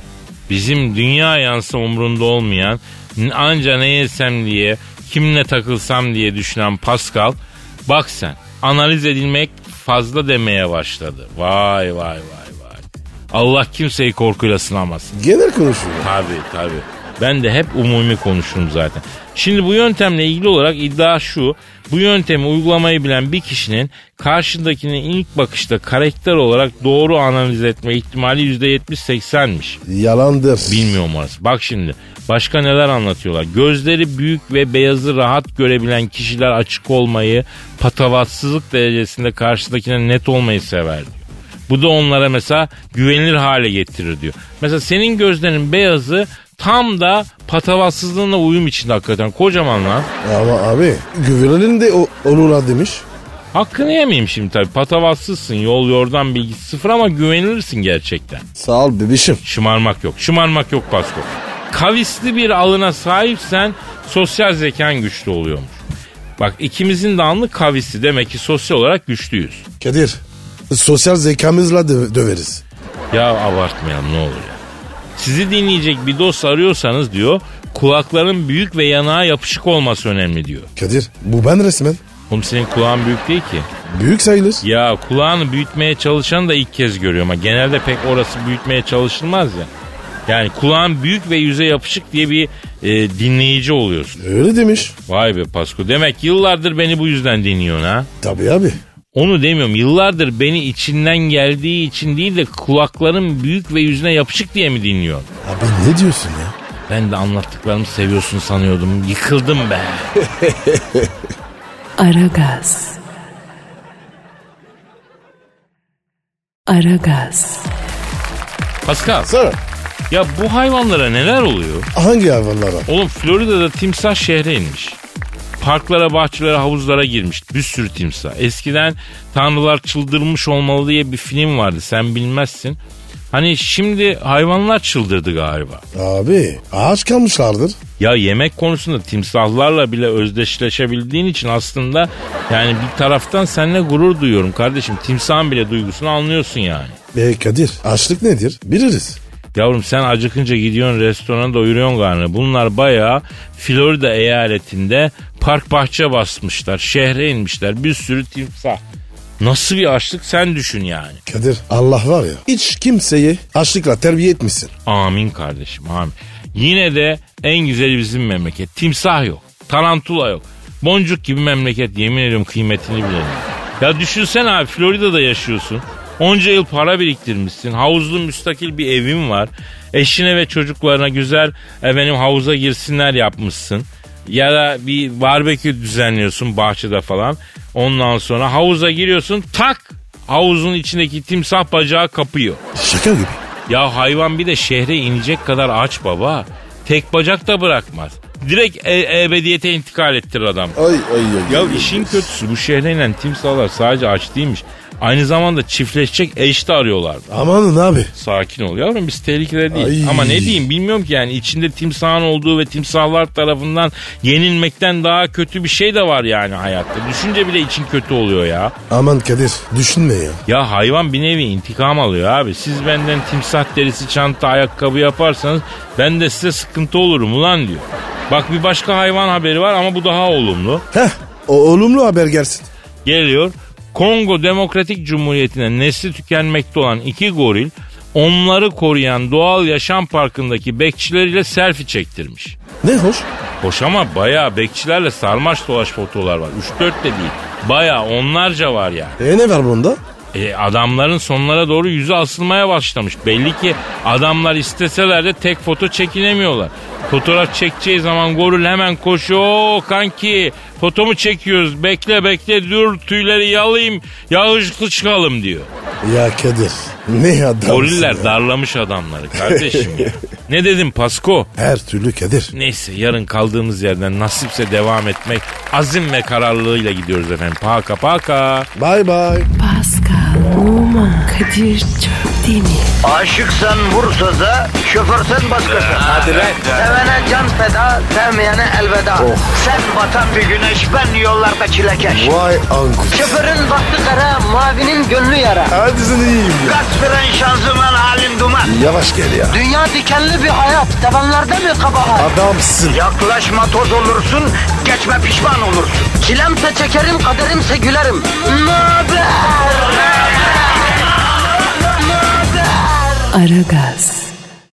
Speaker 2: Bizim dünya yansı umrunda olmayan anca ne yesem diye kimle takılsam diye düşünen Pascal bak sen analiz edilmek fazla demeye başladı. Vay vay vay vay. Allah kimseyi korkuyla sınamasın.
Speaker 3: Genel konuşuyor.
Speaker 2: Tabii tabii. Ben de hep umumi konuşurum zaten. Şimdi bu yöntemle ilgili olarak iddia şu. Bu yöntemi uygulamayı bilen bir kişinin karşındakini ilk bakışta karakter olarak doğru analiz etme ihtimali %70-80'miş.
Speaker 3: Yalandır.
Speaker 2: Bilmiyorum orası. Bak şimdi başka neler anlatıyorlar. Gözleri büyük ve beyazı rahat görebilen kişiler açık olmayı, patavatsızlık derecesinde karşıdakine net olmayı sever diyor. Bu da onlara mesela güvenilir hale getirir diyor. Mesela senin gözlerin beyazı tam da patavatsızlığına uyum içinde hakikaten kocaman lan.
Speaker 3: Ama abi güvenelim de o, onuna demiş.
Speaker 2: Hakkını yemeyeyim şimdi tabii. Patavatsızsın, yol yordan bilgisi sıfır ama güvenilirsin gerçekten.
Speaker 3: Sağ ol bebişim.
Speaker 2: Şımarmak yok. Şımarmak yok Pasko. Kavisli bir alına sahipsen sosyal zekan güçlü oluyormuş. Bak ikimizin de alnı kavisli demek ki sosyal olarak güçlüyüz.
Speaker 3: Kadir sosyal zekamızla dö- döveriz.
Speaker 2: Ya abartmayalım ne olur ya. Sizi dinleyecek bir dost arıyorsanız diyor kulakların büyük ve yanağa yapışık olması önemli diyor.
Speaker 3: Kadir bu ben resmen.
Speaker 2: Oğlum senin kulağın büyük değil ki.
Speaker 3: Büyük sayılır.
Speaker 2: Ya kulağını büyütmeye çalışan da ilk kez görüyorum. Ha, genelde pek orası büyütmeye çalışılmaz ya. Yani kulağın büyük ve yüze yapışık diye bir e, dinleyici oluyorsun.
Speaker 3: Öyle demiş.
Speaker 2: Vay be Pasko. Demek yıllardır beni bu yüzden dinliyorsun ha.
Speaker 3: Tabii abi.
Speaker 2: Onu demiyorum. Yıllardır beni içinden geldiği için değil de kulakların büyük ve yüzüne yapışık diye mi dinliyor?
Speaker 3: Abi ne diyorsun ya?
Speaker 2: Ben de anlattıklarımı seviyorsun sanıyordum. Yıkıldım be.
Speaker 1: Aragaz. Aragaz.
Speaker 2: Pascal
Speaker 3: Sana
Speaker 2: ya bu hayvanlara neler oluyor?
Speaker 3: hangi hayvanlara?
Speaker 2: Oğlum Florida'da timsah şehre inmiş. Parklara, bahçelere, havuzlara girmiş. Bir sürü timsah. Eskiden tanrılar çıldırmış olmalı diye bir film vardı. Sen bilmezsin. Hani şimdi hayvanlar çıldırdı galiba.
Speaker 3: Abi ağaç kalmışlardır.
Speaker 2: Ya yemek konusunda timsahlarla bile özdeşleşebildiğin için aslında yani bir taraftan seninle gurur duyuyorum kardeşim. Timsahın bile duygusunu anlıyorsun yani.
Speaker 3: E Kadir açlık nedir? Biliriz.
Speaker 2: Yavrum sen acıkınca gidiyorsun restorana doyuruyorsun karnını. Bunlar bayağı Florida eyaletinde park bahçe basmışlar. Şehre inmişler. Bir sürü timsah. Nasıl bir açlık sen düşün yani.
Speaker 3: Kadir Allah var ya hiç kimseyi açlıkla terbiye etmişsin.
Speaker 2: Amin kardeşim amin. Yine de en güzeli bizim memleket. Timsah yok. Tarantula yok. Boncuk gibi memleket yemin ediyorum kıymetini bilelim. Ya düşünsene abi Florida'da yaşıyorsun. Onca yıl para biriktirmişsin. Havuzlu müstakil bir evin var. Eşine ve çocuklarına güzel efendim havuza girsinler yapmışsın. Ya da bir barbekü düzenliyorsun bahçede falan. Ondan sonra havuza giriyorsun tak havuzun içindeki timsah bacağı kapıyor.
Speaker 3: Şaka gibi.
Speaker 2: Ya hayvan bir de şehre inecek kadar aç baba. Tek bacak da bırakmaz. Direkt e- ebediyete intikal ettirir adam.
Speaker 3: Ay ay ay.
Speaker 2: Ya işin kötüsü bu şehre inen timsahlar sadece aç değilmiş. Aynı zamanda çiftleşecek eş de arıyorlar.
Speaker 3: Amanın abi.
Speaker 2: Sakin ol yavrum biz tehlikede değil.
Speaker 3: Ay.
Speaker 2: Ama ne diyeyim bilmiyorum ki yani içinde timsahın olduğu ve timsahlar tarafından yenilmekten daha kötü bir şey de var yani hayatta. Düşünce bile için kötü oluyor ya.
Speaker 3: Aman Kadir düşünme ya.
Speaker 2: Ya hayvan bir nevi intikam alıyor abi. Siz benden timsah derisi çanta ayakkabı yaparsanız ben de size sıkıntı olurum ulan diyor. Bak bir başka hayvan haberi var ama bu daha olumlu.
Speaker 3: Heh o olumlu haber gelsin.
Speaker 2: Geliyor. Kongo Demokratik Cumhuriyeti'ne nesli tükenmekte olan iki goril onları koruyan doğal yaşam parkındaki bekçileriyle selfie çektirmiş.
Speaker 3: Ne hoş.
Speaker 2: Hoş ama bayağı bekçilerle sarmaş dolaş fotolar var. 3-4 de değil. Bayağı onlarca var yani.
Speaker 3: E ne var bunda?
Speaker 2: E, adamların sonlara doğru yüzü asılmaya başlamış. Belli ki adamlar isteseler de tek foto çekinemiyorlar. Fotoğraf çekeceği zaman goril hemen koşuyor. "Oo, kanki fotomu çekiyoruz bekle bekle dur tüyleri yalayayım yağışlı çıkalım diyor.
Speaker 3: Ya Kadir ne adam.
Speaker 2: Goriller darlamış adamları kardeşim ya. Ne dedim Pasko?
Speaker 3: Her türlü Kadir.
Speaker 2: Neyse yarın kaldığımız yerden nasipse devam etmek azim ve kararlılığıyla gidiyoruz efendim. Paka paka.
Speaker 3: Bye bye.
Speaker 1: Pascal, Oman, Kadir çok değil mi?
Speaker 5: Aşıksan vursa da, şoförsen başkasın. Hadi Sevene can feda, sevmeyene elveda. Sen batan bir güneş, ben yollarda çilekeş.
Speaker 3: Vay anku.
Speaker 5: Şoförün baktı kara, mavinin gönlü yara.
Speaker 3: Hadi sen iyiyim ya.
Speaker 5: Kasperen şanzıman halin duman.
Speaker 3: Yavaş gel ya.
Speaker 5: Dünya dikenli bir hayat, sevenlerde mi kabahar?
Speaker 3: Adamsın.
Speaker 5: Yaklaşma toz olursun, geçme pişman olursun. Çilemse çekerim, kaderimse gülerim. Möber!
Speaker 1: Aragaz.